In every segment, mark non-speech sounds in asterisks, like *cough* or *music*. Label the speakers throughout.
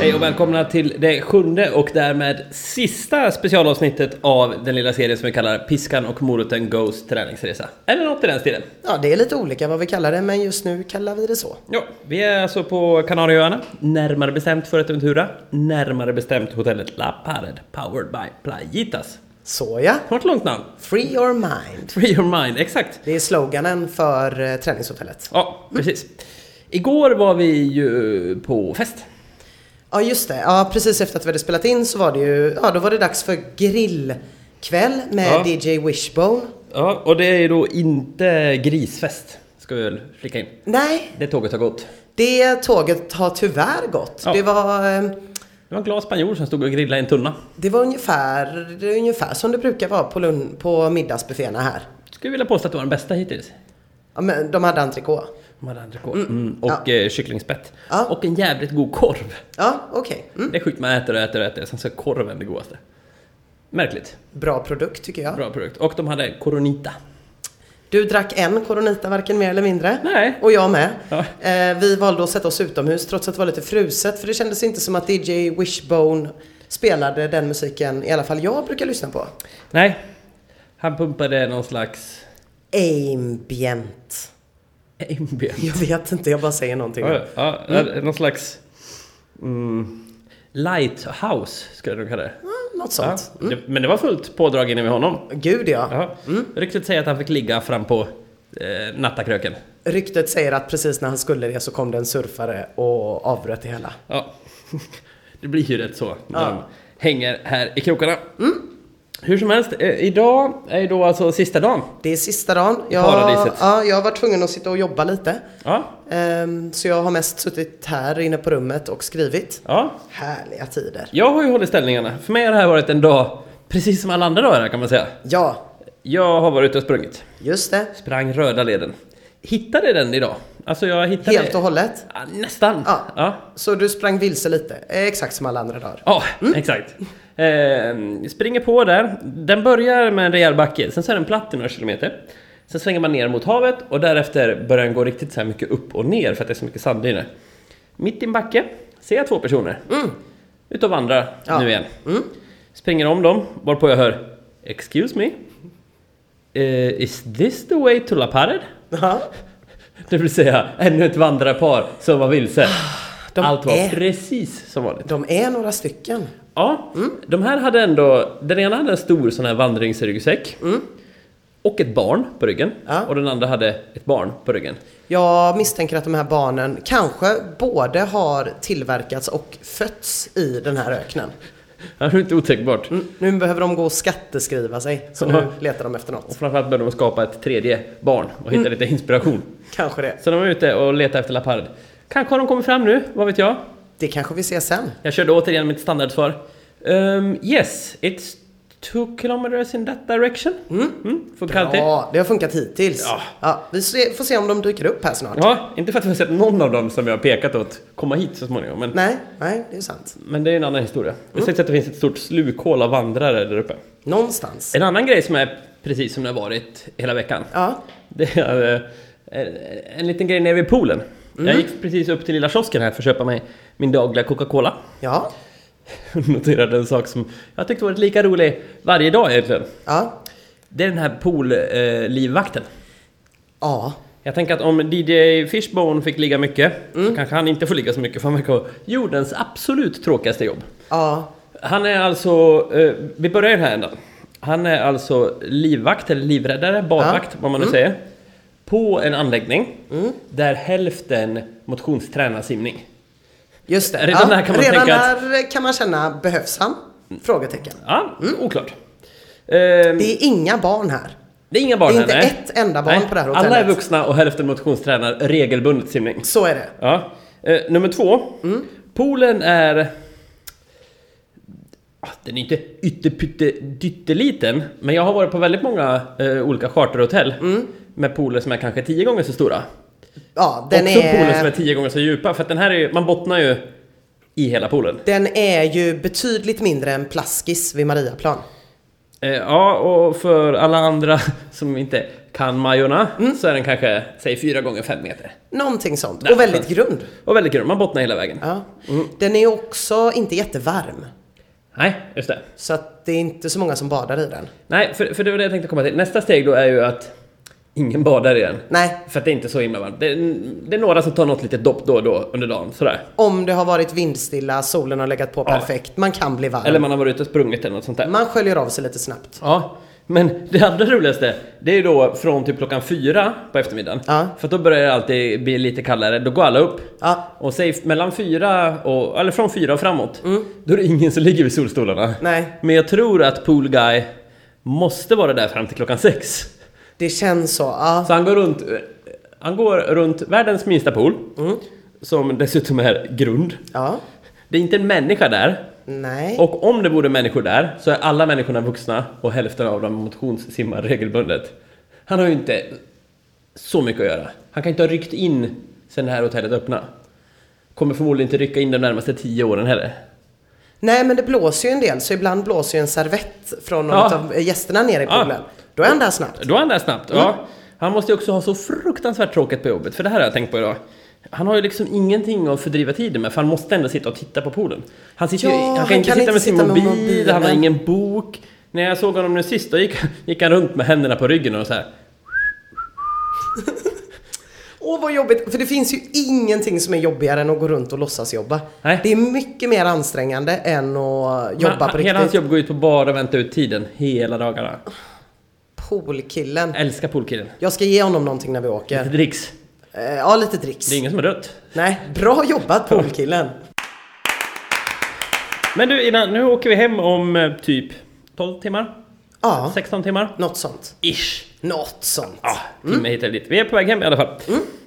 Speaker 1: Hej och välkomna till det sjunde och därmed sista specialavsnittet av den lilla serien som vi kallar Piskan och moroten Goes träningsresa. Eller något i den stilen.
Speaker 2: Ja, det är lite olika vad vi kallar det, men just nu kallar vi det så.
Speaker 1: Ja, vi är alltså på Kanarieöarna, närmare bestämt Fuerteventura, närmare bestämt hotellet La Pared, powered by Playitas.
Speaker 2: Så ja,
Speaker 1: Kort långt namn.
Speaker 2: free your mind.
Speaker 1: Free your mind, exakt.
Speaker 2: Det är sloganen för eh, träningshotellet.
Speaker 1: Ja, precis. Igår var vi ju på fest.
Speaker 2: Ja, just det. Ja, precis efter att vi hade spelat in så var det ju, ja då var det dags för grillkväll med
Speaker 1: Ja.
Speaker 2: DJ Wishbone.
Speaker 1: Ja, och det är ju då inte grisfest, ska vi väl flika in.
Speaker 2: Nej,
Speaker 1: Det tåget har gått.
Speaker 2: det tåget har tyvärr gått.
Speaker 1: Ja.
Speaker 2: Det, var, eh,
Speaker 1: Det var en glad spanjor som stod och grillade i en tunna.
Speaker 2: det var ungefär, det är ungefär som det brukar vara på, lun- på middagsbufféerna här.
Speaker 1: Skulle vilja påstå att det var den bästa hittills.
Speaker 2: Ja, men de hade entrecote.
Speaker 1: De hade entrecote mm, och eh, kycklingspett.
Speaker 2: Ja.
Speaker 1: Och en jävligt god korv.
Speaker 2: Ja, okej. Mm.
Speaker 1: Det är sjukt, man äter och äter och äter, sen så är korven det godaste. Märkligt.
Speaker 2: Bra produkt tycker jag.
Speaker 1: Bra produkt. Och de hade coronita.
Speaker 2: Du drack en Coronita, varken mer eller mindre.
Speaker 1: Nej.
Speaker 2: Och jag med.
Speaker 1: Ja.
Speaker 2: Eh, vi valde att sätta oss utomhus trots att det var lite fruset för det kändes inte som att DJ Wishbone spelade den musiken, i alla fall jag brukar lyssna på.
Speaker 1: Nej. Han pumpade någon slags
Speaker 2: Ambient.
Speaker 1: ambient.
Speaker 2: Jag vet inte, jag bara säger någonting.
Speaker 1: Ja, ja, Någon slags... Mm, lighthouse, skulle jag nog kalla det.
Speaker 2: Mm, Mm. Något
Speaker 1: Ja,
Speaker 2: sånt.
Speaker 1: det. Men det var fullt pådrag inne vid honom.
Speaker 2: Gud ja.
Speaker 1: Ja. Ryktet säger att han fick ligga fram på eh, nattakröken.
Speaker 2: Ryktet säger att precis när han skulle det så kom det en surfare och avbröt det hela.
Speaker 1: Ja. *laughs* Det blir ju rätt så. när
Speaker 2: Ja.
Speaker 1: De hänger här i krokarna. Mm. Hur som helst, eh, idag är ju då alltså sista dagen.
Speaker 2: Det är sista dagen.
Speaker 1: Paradiset.
Speaker 2: ja, jag har varit tvungen att sitta och jobba lite.
Speaker 1: Ja,
Speaker 2: Ehm, så jag har mest suttit här inne på rummet och skrivit.
Speaker 1: ja.
Speaker 2: Härliga tider.
Speaker 1: Jag har ju hållit ställningarna. För mig har det här varit en dag, precis som alla andra dagar här, kan man säga.
Speaker 2: Ja,
Speaker 1: Jag har varit ute och sprungit.
Speaker 2: just det.
Speaker 1: Sprang röda leden. Hittade den idag. Alltså jag hittade...
Speaker 2: Helt och hållet.
Speaker 1: Ja, nästan.
Speaker 2: Ja.
Speaker 1: ja.
Speaker 2: Så du sprang vilse lite, Eh, exakt som alla andra dagar.
Speaker 1: Ja, exakt. Eh, springer på där. Den börjar med en rejäl backe, sen så är den platt i några kilometer. Sen svänger man ner mot havet och därefter börjar den gå riktigt så här mycket upp och ner för att det är så mycket sanddyner. Mitt i en backe ser jag två personer. Ut och vandrar
Speaker 2: Mm. Ja. Mm.
Speaker 1: nu igen. Springer om dem, varpå jag hör Excuse me? Eh, is this the way to La Pared?
Speaker 2: Ja.
Speaker 1: Det vill säga ännu ett vandrarpar som var vilse.
Speaker 2: De
Speaker 1: Allt var
Speaker 2: är-
Speaker 1: precis som vanligt.
Speaker 2: De är några stycken.
Speaker 1: Ja,
Speaker 2: Mm.
Speaker 1: de här hade ändå... Den ena hade en stor sån här vandringsryggsäck. Och ett barn på ryggen.
Speaker 2: Mm. Ja.
Speaker 1: Och den andra hade ett barn på ryggen.
Speaker 2: Jag misstänker att de här barnen kanske både har tillverkats och fötts i den här öknen.
Speaker 1: Det är inte otänkbart.
Speaker 2: Mm, Nu behöver de gå och skatteskriva sig, så nu letar de efter
Speaker 1: Och
Speaker 2: något.
Speaker 1: framförallt började de skapa ett tredje barn och hitta
Speaker 2: Mm.
Speaker 1: lite inspiration.
Speaker 2: Kanske det.
Speaker 1: Så de var ute och letade efter Lapard. Kanske har de kommit fram nu, vad vet jag?
Speaker 2: Det kanske vi ser sen.
Speaker 1: Jag körde återigen mitt standardsvar. Ehm, yes, it's two kilometers in that direction. Mm. Funkar alltid.
Speaker 2: Ja, det har funkat hittills.
Speaker 1: Ja.
Speaker 2: Ja, vi se- får se om de dyker upp här snart.
Speaker 1: Ja, inte för att vi har sett någon av dem som jag har pekat åt komma hit så småningom. Men
Speaker 2: Nej, nej, det är sant.
Speaker 1: Men det är en annan historia. Det sägs att det finns ett stort slukhål av vandrare där uppe.
Speaker 2: Någonstans.
Speaker 1: En annan grej som är precis som det har varit hela veckan.
Speaker 2: Ja,
Speaker 1: Det är eh, en- en liten grej nere vid poolen. Jag gick precis upp till lilla kiosken här för att köpa mig min dagliga Coca-Cola. *laughs*
Speaker 2: ja,
Speaker 1: Noterade en sak som jag tyckte varit lika rolig varje dag egentligen.
Speaker 2: ja,
Speaker 1: Det är den här poollivvakten.
Speaker 2: ja.
Speaker 1: Jag tänker att om DJ Fishbone fick ligga mycket så kanske han inte får ligga så mycket för han verkar ha jordens absolut tråkigaste jobb.
Speaker 2: Ja,
Speaker 1: Han är alltså, eh, vi börjar i den här ändan. Han är alltså livvakt eller livräddare, badvakt, vad man nu
Speaker 2: Mm.
Speaker 1: säger. På en anläggning där hälften motionstränar simning.
Speaker 2: just det.
Speaker 1: Redan
Speaker 2: ja.
Speaker 1: där kan man
Speaker 2: Redan
Speaker 1: tänka att-
Speaker 2: där kan man känna, behövs han? Frågetecken.
Speaker 1: Ja, oklart. Eh,
Speaker 2: Mm. Det är inga barn här.
Speaker 1: det är inga barn
Speaker 2: det är
Speaker 1: här,
Speaker 2: inte
Speaker 1: nej.
Speaker 2: ett enda barn
Speaker 1: Nej,
Speaker 2: på det här
Speaker 1: Alla är
Speaker 2: hotellet.
Speaker 1: vuxna och hälften motionstränar regelbundet simning.
Speaker 2: Så är det.
Speaker 1: Ja. Eh, nummer två.
Speaker 2: Mm.
Speaker 1: Poolen är... Ah, Den är inte ytterpytte dytteliten, men jag har varit på väldigt många eh, olika charterhotell
Speaker 2: Mm.
Speaker 1: med pooler som är kanske tio gånger så stora.
Speaker 2: Ja, den
Speaker 1: Också pooler som är
Speaker 2: är...
Speaker 1: tio gånger så djupa, för att den här är ju, man bottnar ju i hela poolen.
Speaker 2: Den är ju betydligt mindre än Plaskis vid Mariaplan.
Speaker 1: Eh, ja, och för alla andra *laughs* som inte kan Majorna
Speaker 2: Mm.
Speaker 1: så är den kanske, säg 4 gånger 5 meter.
Speaker 2: Någonting sånt.
Speaker 1: Där.
Speaker 2: Och väldigt grund.
Speaker 1: Och väldigt grund, man bottnar hela vägen.
Speaker 2: Ja.
Speaker 1: Mm.
Speaker 2: Den är också inte jättevarm.
Speaker 1: Nej, just det.
Speaker 2: Så att det är inte så många som badar i den.
Speaker 1: Nej, för, för det var det jag tänkte komma till. Nästa steg då är ju att ingen badar i den.
Speaker 2: Nej,
Speaker 1: För att det är inte så himla varmt. Det är, det är några som tar något litet dopp då och då under dagen, sådär.
Speaker 2: om det har varit vindstilla, solen har legat på
Speaker 1: Ja.
Speaker 2: perfekt, man kan bli varm.
Speaker 1: Eller man har varit ute och sprungit eller något sånt där.
Speaker 2: Man sköljer av sig lite snabbt.
Speaker 1: Ja, men det andra roligaste, det är ju då från typ klockan fyra på eftermiddagen.
Speaker 2: Ja.
Speaker 1: För att då börjar det alltid bli lite kallare, då går alla upp.
Speaker 2: Ja,
Speaker 1: Och säg mellan fyra och, eller från fyra och framåt, då är det ingen som ligger vid solstolarna.
Speaker 2: Mm. nej.
Speaker 1: Men jag tror att Pool Guy måste vara där fram till klockan sex.
Speaker 2: Det känns så. Ja.
Speaker 1: Så han går runt, han går runt världens minsta pool, som dessutom är grund.
Speaker 2: ja.
Speaker 1: Det är inte en människa där.
Speaker 2: Nej.
Speaker 1: Och om det vore människor där så är alla människorna vuxna och hälften av dem motionssimmar regelbundet. Han har ju inte så mycket att göra. Han kan inte ha ryckt in sen det här hotellet öppnade. Kommer förmodligen inte rycka in de närmaste tio åren heller.
Speaker 2: Nej, men det blåser ju en del, så ibland blåser ju en servett från någon
Speaker 1: Ja.
Speaker 2: av gästerna nere i
Speaker 1: Ja.
Speaker 2: poolen. Då är han där snabbt.
Speaker 1: Då är han där snabbt.
Speaker 2: Mm.
Speaker 1: Ja. Han måste ju också ha så fruktansvärt tråkigt på jobbet, för det här har jag tänkt på idag. Han har ju liksom ingenting att fördriva tiden med, för han måste ändå sitta och titta på poolen. Han, sitter
Speaker 2: Ja,
Speaker 1: ju, han kan
Speaker 2: han
Speaker 1: inte
Speaker 2: kan
Speaker 1: sitta
Speaker 2: inte
Speaker 1: med sin
Speaker 2: sitta med
Speaker 1: mobil,
Speaker 2: mobilen.
Speaker 1: han har ingen bok. När jag såg honom nu sist, då gick, *laughs* gick han runt med händerna på ryggen och så här.
Speaker 2: Åh vad jobbigt, för det finns ju ingenting som är jobbigare än att gå runt och låtsas jobba.
Speaker 1: Nej.
Speaker 2: Det är mycket mer ansträngande än att jobba
Speaker 1: Men
Speaker 2: på
Speaker 1: han- Hela hans
Speaker 2: riktigt.
Speaker 1: jobb går ut på bara att vänta ut tiden, hela dagarna.
Speaker 2: Poolkillen.
Speaker 1: Älskar poolkillen. Alltså,
Speaker 2: Jag ska ge honom någonting när vi åker.
Speaker 1: Det *laughs* dricks.
Speaker 2: Eh, Ja, lite dricks.
Speaker 1: Det är ingen som är rött.
Speaker 2: Nej, bra jobbat poolkillen.
Speaker 1: Men du, innan, nu åker vi hem om eh, typ 12 timmar?
Speaker 2: Ja,
Speaker 1: 16 timmar?
Speaker 2: något sånt.
Speaker 1: Ish.
Speaker 2: Något sånt.
Speaker 1: Ja,
Speaker 2: Mm.
Speaker 1: timme hit eller dit. Vi är på väg hem i alla fall.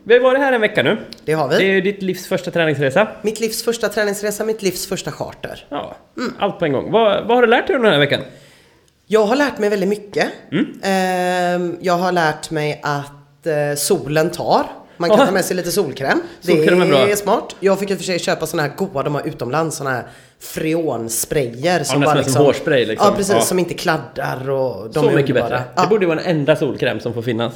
Speaker 1: Vi har ju varit här en vecka nu.
Speaker 2: Det har
Speaker 1: Det är
Speaker 2: vi.
Speaker 1: ju ditt livs första träningsresa.
Speaker 2: Mitt livs första träningsresa, mitt livs första charter.
Speaker 1: Ja,
Speaker 2: Mm.
Speaker 1: allt på en gång. Vad, vad har du lärt dig under den här veckan?
Speaker 2: Jag har lärt mig väldigt mycket.
Speaker 1: Mm.
Speaker 2: Ehm, Jag har lärt mig att eh, solen tar. Man kan
Speaker 1: Ja.
Speaker 2: ta med sig lite solkräm. Det
Speaker 1: Solkräm är bra.
Speaker 2: är smart. Jag fick i och för sig köpa såna här goa, de har utomlands, såna här freonsprayer.
Speaker 1: nästan som hårspray liksom.
Speaker 2: Ja, precis.
Speaker 1: Ja.
Speaker 2: Som inte kladdar och de
Speaker 1: så
Speaker 2: är
Speaker 1: mycket
Speaker 2: underbara.
Speaker 1: bättre.
Speaker 2: Ja.
Speaker 1: Det borde ju vara den enda solkräm som får finnas.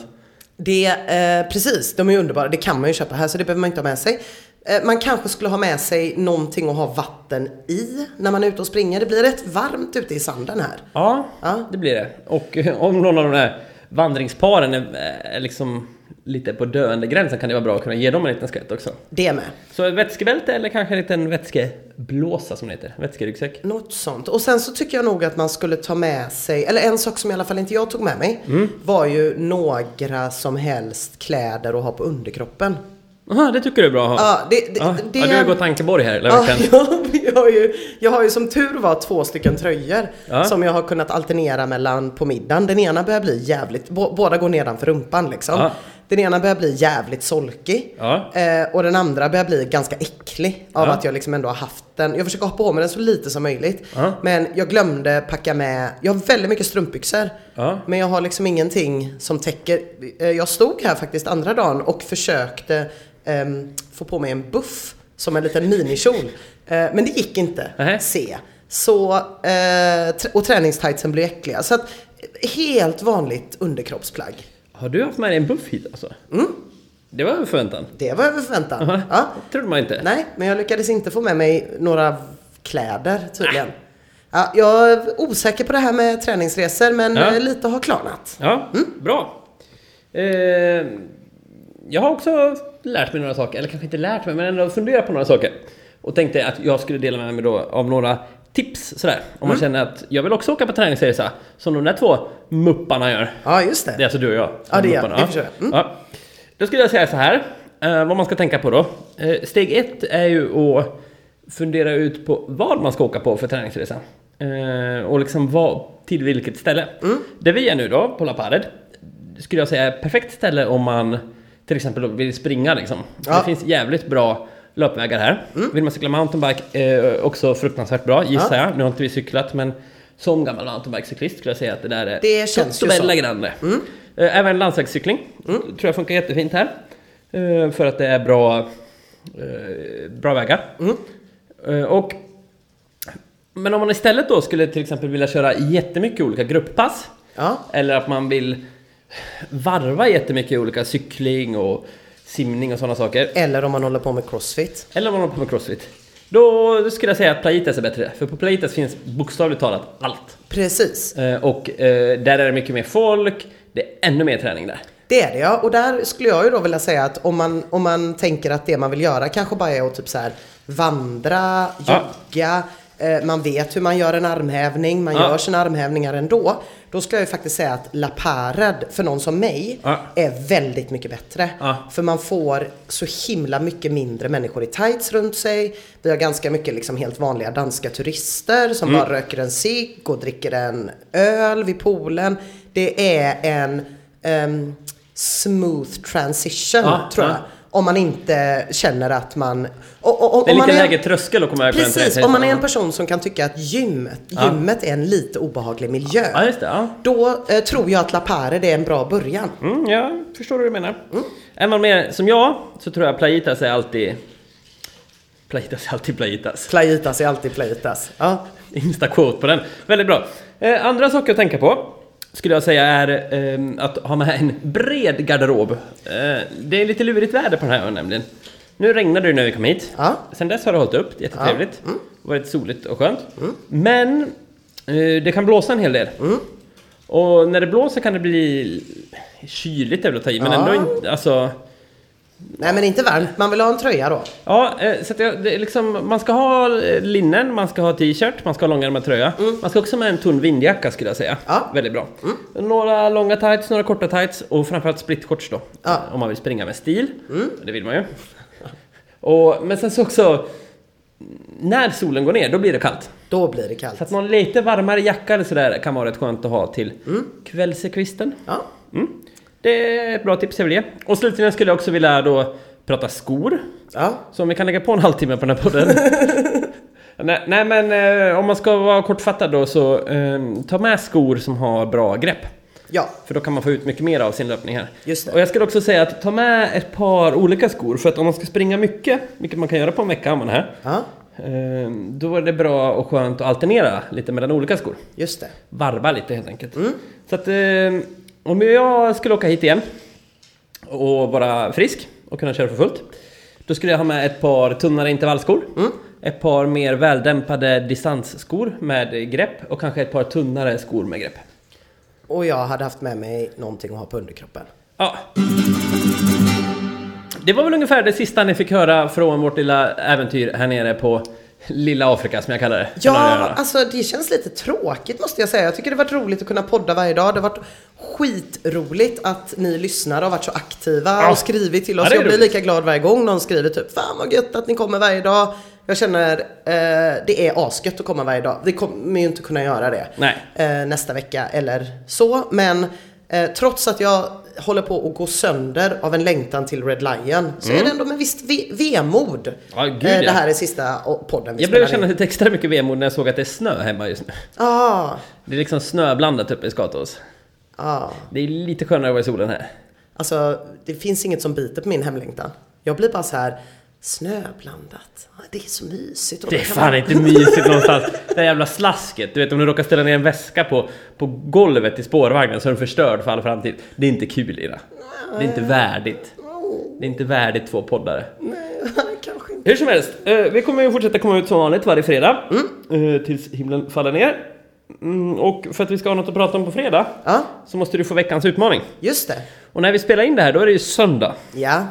Speaker 2: Det, eh, precis, de är ju underbara. Det kan man ju köpa här så det behöver man inte ha med sig. Eh, man kanske skulle ha med sig någonting att ha vatten i när man är ute och springer. Det blir rätt varmt ute i sanden här.
Speaker 1: Ja,
Speaker 2: Ja.
Speaker 1: det blir det. Och eh, om någon av de där vandringsparen är eh, liksom lite på döende gränsen kan det vara bra att kunna ge dem en liten skvätt också.
Speaker 2: Det med.
Speaker 1: Så ett vätskebälte eller kanske en liten vätskeblåsa som det heter. Vätskeryggsäck.
Speaker 2: Något sånt. Och sen så tycker jag nog att man skulle ta med sig, eller en sak som i alla fall inte jag tog med mig, var ju några som helst kläder att ha på underkroppen.
Speaker 1: Jaha, det tycker du är bra att ha.
Speaker 2: Ja, det, det,
Speaker 1: Ja,
Speaker 2: det,
Speaker 1: ja, du har gått tankeborg här hela
Speaker 2: Ja,
Speaker 1: veckan.
Speaker 2: jag, jag, har ju, jag har ju som tur var två stycken tröjor
Speaker 1: Ja.
Speaker 2: som jag har kunnat alternera mellan på middagen. Den ena börjar bli jävligt, bå- båda går nedanför rumpan liksom.
Speaker 1: Ja.
Speaker 2: Den ena börjar bli jävligt solkig
Speaker 1: Ja.
Speaker 2: eh, och den andra börjar bli ganska äcklig av
Speaker 1: Ja.
Speaker 2: att jag liksom ändå har haft den. Jag försöker ha på mig den så lite som möjligt.
Speaker 1: Ja.
Speaker 2: Men jag glömde packa med, jag har väldigt mycket strumpbyxor.
Speaker 1: Ja.
Speaker 2: Men jag har liksom ingenting som täcker. Eh, Jag stod här faktiskt andra dagen och försökte ehm, få på mig en buff som en liten minikjol. Eh, men det gick inte.
Speaker 1: Nähä.
Speaker 2: Se. Så, eh, tr- och träningstightsen blev äckliga. Så att, eh, helt vanligt underkroppsplagg.
Speaker 1: Har du haft med dig en buff hit alltså? Det var en förväntan.
Speaker 2: Det var över förväntan.
Speaker 1: Jaha,
Speaker 2: Mm. Ja.
Speaker 1: det trodde man inte.
Speaker 2: Nej, men jag lyckades inte få med mig några kläder tydligen.
Speaker 1: Äh.
Speaker 2: Ja, jag är osäker på det här med träningsresor men
Speaker 1: Ja.
Speaker 2: eh, lite har klarnat.
Speaker 1: Ja, bra. Eh, jag har också lärt mig några saker, eller kanske inte lärt mig, men ändå funderat på några saker. Och tänkte att jag skulle dela med mig då av några tips sådär. Om
Speaker 2: Mm.
Speaker 1: man känner att jag vill också åka på träningsresa, som de där två mupparna gör.
Speaker 2: Ja, just det.
Speaker 1: Det är alltså du och jag.
Speaker 2: Ja, det är jag.
Speaker 1: Mupparna,
Speaker 2: Det förstår jag. Mm.
Speaker 1: Ja. Då skulle jag säga så här, eh, vad man ska tänka på då. Eh, steg ett är ju att fundera ut på vad man ska åka på för träningsresa. Eh, och liksom vad, till vilket ställe.
Speaker 2: Mm.
Speaker 1: Där vi är nu då, på La Pared, skulle jag säga är ett perfekt ställe om man till exempel då vill springa liksom.
Speaker 2: Ja. Mm.
Speaker 1: Det finns jävligt bra löpvägar här. Vill man cykla mountainbike, eh, också fruktansvärt bra gissar jag. Nu har inte vi cyklat men som gammal mountainbikecyklist skulle jag säga att det där är
Speaker 2: Det känns ju
Speaker 1: Totto
Speaker 2: så.
Speaker 1: Bella Grande. Eh, Även landsvägscykling tror jag funkar jättefint här. Eh, För att det är bra, eh, bra vägar. Eh, Och, men om man istället då skulle till exempel vilja köra jättemycket olika grupppass.
Speaker 2: Ja.
Speaker 1: Eller att man vill varva jättemycket i olika cykling och simning och sådana saker.
Speaker 2: Eller om man håller på med crossfit.
Speaker 1: Eller om man håller på med crossfit. Då skulle jag säga att Playitas är bättre. För på Playitas finns bokstavligt talat allt.
Speaker 2: Precis.
Speaker 1: Eh, Och eh, där är det mycket mer folk. Det är ännu mer träning där.
Speaker 2: Det är det ja. Och där skulle jag ju då vilja säga att om man, om man tänker att det man vill göra kanske bara är att typ så här vandra,
Speaker 1: Ja.
Speaker 2: jogga, eh, man vet hur man gör en armhävning, man
Speaker 1: Ja.
Speaker 2: gör sina armhävningar ändå. Då skulle jag ju faktiskt säga att La Parad för någon som mig
Speaker 1: Ja.
Speaker 2: är väldigt mycket bättre.
Speaker 1: Ja.
Speaker 2: För man får så himla mycket mindre människor i tights runt sig. Vi har ganska mycket liksom helt vanliga danska turister som
Speaker 1: Mm.
Speaker 2: bara röker en cigg och dricker en öl vid poolen. Det är en ehm, smooth transition
Speaker 1: Ja,
Speaker 2: tror jag.
Speaker 1: ja.
Speaker 2: Om man inte känner att man... Och, och, och,
Speaker 1: Det är
Speaker 2: om man
Speaker 1: lite
Speaker 2: är-
Speaker 1: lägre tröskel att komma över på den
Speaker 2: Precis,
Speaker 1: träningsresan.
Speaker 2: om man är en person som kan tycka att gymmet, gymmet är en lite obehaglig miljö.
Speaker 1: Ja, just det. Ja.
Speaker 2: Då eh, tror jag att La Parade är en bra början.
Speaker 1: Mm, jag förstår vad du menar.
Speaker 2: Mm.
Speaker 1: Är man mer som jag så tror jag Playitas är alltid... Playitas är alltid Playitas.
Speaker 2: Playitas är alltid playitas. Ja.
Speaker 1: *laughs* Insta-quote på den. Väldigt bra. Eh, andra saker att tänka på skulle jag säga är ehm, att ha med en bred garderob. Eh, det är lite lurigt väder på den här ön nämligen. Nu regnade det när vi kom hit.
Speaker 2: Ja. Mm.
Speaker 1: Sen dess har det hållit upp, det är jättetrevligt. Varit soligt och skönt. Men eh, det kan blåsa en hel del.
Speaker 2: Mm.
Speaker 1: Och när det blåser kan det bli kyligt, är väl att ta i, men
Speaker 2: Ja.
Speaker 1: ändå inte... Alltså,
Speaker 2: Nej men inte varmt, man vill ha en tröja då.
Speaker 1: Ja, eh, så att jag, det är liksom, man ska ha eh, linnen, man ska ha t-shirt, man ska ha långärmad tröja. Man ska också ha med en tunn vindjacka skulle jag säga.
Speaker 2: Mm. Ja. Mm.
Speaker 1: Väldigt bra. Några långa tights, några korta tights och framförallt splitshorts då.
Speaker 2: Ja. Mm.
Speaker 1: Om man vill springa med stil. Det vill man ju. Och, men sen så också, när solen går ner då blir det kallt.
Speaker 2: Då blir det kallt.
Speaker 1: Så att någon lite varmare jacka eller sådär kan vara rätt skönt att ha till
Speaker 2: Mm.
Speaker 1: kvällsekvisten.
Speaker 2: Ja.
Speaker 1: Mm. Det är ett bra tips jag vill ge. Och slutligen skulle jag också vilja då prata skor.
Speaker 2: ja.
Speaker 1: Så om vi kan lägga på en halvtimme på den här
Speaker 2: *laughs*
Speaker 1: podden. nej, nej men eh, om man ska vara kortfattad då så eh, ta med skor som har bra grepp.
Speaker 2: Ja.
Speaker 1: För då kan man få ut mycket mer av sin löpning här.
Speaker 2: Just det.
Speaker 1: Och jag skulle också säga att ta med ett par olika skor. För att om man ska springa mycket, vilket man kan göra på en vecka om man är här.
Speaker 2: Ja.
Speaker 1: eh, Då är det bra och skönt att alternera lite mellan olika skor.
Speaker 2: Just det.
Speaker 1: Varva lite helt enkelt.
Speaker 2: Mm.
Speaker 1: Så att eh, om jag skulle åka hit igen och vara frisk och kunna köra för fullt. Då skulle jag ha med ett par tunnare intervallskor.
Speaker 2: Mm.
Speaker 1: Ett par mer väldämpade distansskor med grepp och kanske ett par tunnare skor med grepp.
Speaker 2: Och jag hade haft med mig någonting att ha på underkroppen.
Speaker 1: Ja. Det var väl ungefär det sista ni fick höra från vårt lilla äventyr här nere på lilla Afrika som jag kallar det.
Speaker 2: Ja, alltså det känns lite tråkigt måste jag säga. Jag tycker det har varit roligt att kunna podda varje dag. Det har varit skitroligt att ni lyssnare har varit så aktiva
Speaker 1: Ja.
Speaker 2: och skrivit till oss.
Speaker 1: Ja, det är
Speaker 2: jag blir
Speaker 1: roligt.
Speaker 2: lika glad varje gång någon skriver typ Fan vad gött att ni kommer varje dag. Jag känner eh, det är asgött att komma varje dag. Vi kommer ju inte kunna göra det
Speaker 1: Nej.
Speaker 2: eh, nästa vecka eller så. Men eh, trots att jag håller på att gå sönder av en längtan till Red Lion så är det ändå med visst ve- vemod.
Speaker 1: Mm. Ja, gud,
Speaker 2: eh, det
Speaker 1: ja.
Speaker 2: här är sista o- podden vi
Speaker 1: Jag började
Speaker 2: spelar in.
Speaker 1: känna lite extra mycket vemod när jag såg att det är snö hemma just nu.
Speaker 2: Ah,
Speaker 1: Det är liksom snöblandat uppe i Skatås.
Speaker 2: ah.
Speaker 1: Det är lite skönare att vara i solen här.
Speaker 2: Alltså, det finns inget som biter på min hemlängtan. Jag blir bara så här snöblandat. Ah, Det är så mysigt. Och
Speaker 1: Det
Speaker 2: då
Speaker 1: är
Speaker 2: kan
Speaker 1: fan
Speaker 2: man-
Speaker 1: inte mysigt någonstans. Det där jävla slasket. Du vet om du råkar ställa ner en väska på, på golvet i spårvagnen så är den förstörd för all framtid. Det är inte kul Ira. Det är inte värdigt. Det är inte värdigt två poddare.
Speaker 2: Nej, *laughs* kanske inte.
Speaker 1: Hur som helst, eh, vi kommer ju fortsätta komma ut som vanligt varje fredag. eh, Tills himlen faller ner. Mm, och för att vi ska ha något att prata om på fredag
Speaker 2: Ja,
Speaker 1: så måste du få veckans utmaning.
Speaker 2: just det.
Speaker 1: Och när vi spelar in det här då är det ju söndag.
Speaker 2: Ja.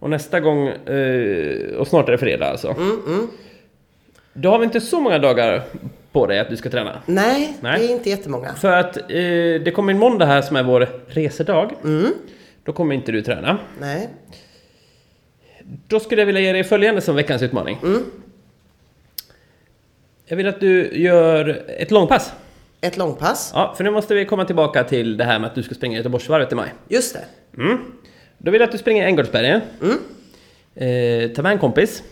Speaker 1: Och nästa gång, eh, och snart är det fredag alltså. Då har vi inte så många dagar på dig att du ska träna.
Speaker 2: Nej,
Speaker 1: Nej.
Speaker 2: det är inte jättemånga.
Speaker 1: För att eh, det kommer en måndag här som är vår resedag. Då kommer inte du träna.
Speaker 2: Nej.
Speaker 1: Då skulle jag vilja ge dig följande som veckans utmaning. Jag vill att du gör ett långpass.
Speaker 2: Ett långpass.
Speaker 1: Ja, för nu måste vi komma tillbaka till det här med att du ska springa Göteborgsvarvet i maj.
Speaker 2: Just det.
Speaker 1: Mm. Då vill jag att du springer Änggårdsbergen. Eh, ta med en kompis.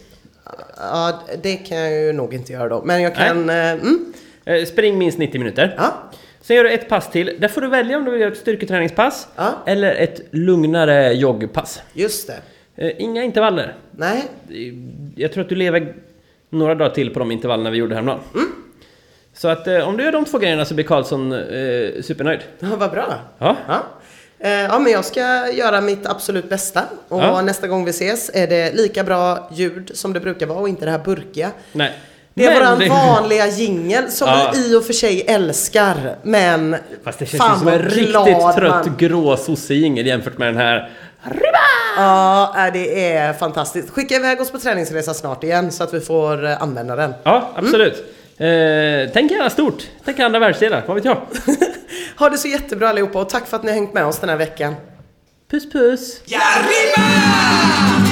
Speaker 2: Ja, det kan jag ju nog inte göra då. Men jag kan... eh, Mm.
Speaker 1: Eh, spring minst 90 minuter.
Speaker 2: Ja.
Speaker 1: Sen gör du ett pass till. Där får du välja om du vill göra ett styrketräningspass
Speaker 2: Ja.
Speaker 1: eller ett lugnare joggpass.
Speaker 2: Just det.
Speaker 1: Eh, inga intervaller.
Speaker 2: Nej.
Speaker 1: Eh, Jag tror att du lever några dagar till på de intervallerna vi gjorde häromdagen.
Speaker 2: Mm.
Speaker 1: Så att eh, om du gör de två grejerna så blir Karlsson eh, supernöjd.
Speaker 2: Ja, vad bra.
Speaker 1: Ja.
Speaker 2: Ja. Eh, Ja, men jag ska göra mitt absolut bästa. Och
Speaker 1: Ja.
Speaker 2: nästa gång vi ses är det lika bra ljud som det brukar vara och inte det här burkiga.
Speaker 1: Nej.
Speaker 2: Det är
Speaker 1: Men
Speaker 2: våran vanliga jingel som
Speaker 1: Ja.
Speaker 2: vi i och för sig älskar, men
Speaker 1: *laughs* Fast det känns ju som en
Speaker 2: vad glad
Speaker 1: riktigt trött
Speaker 2: man-
Speaker 1: grå sossejingel jämfört med den här.
Speaker 2: Ja, nej, det är fantastiskt. Skicka iväg oss på träningsresa snart igen så att vi får eh, använda den. *laughs*
Speaker 1: Ja, absolut.
Speaker 2: Mm.
Speaker 1: Eh, tänk gärna stort. Tänk andra världsdelar, vad vet jag?
Speaker 2: Ha det så jättebra allihopa och tack för att ni har hängt med oss den här veckan.
Speaker 1: Puss puss!
Speaker 3: ¡Y arriba!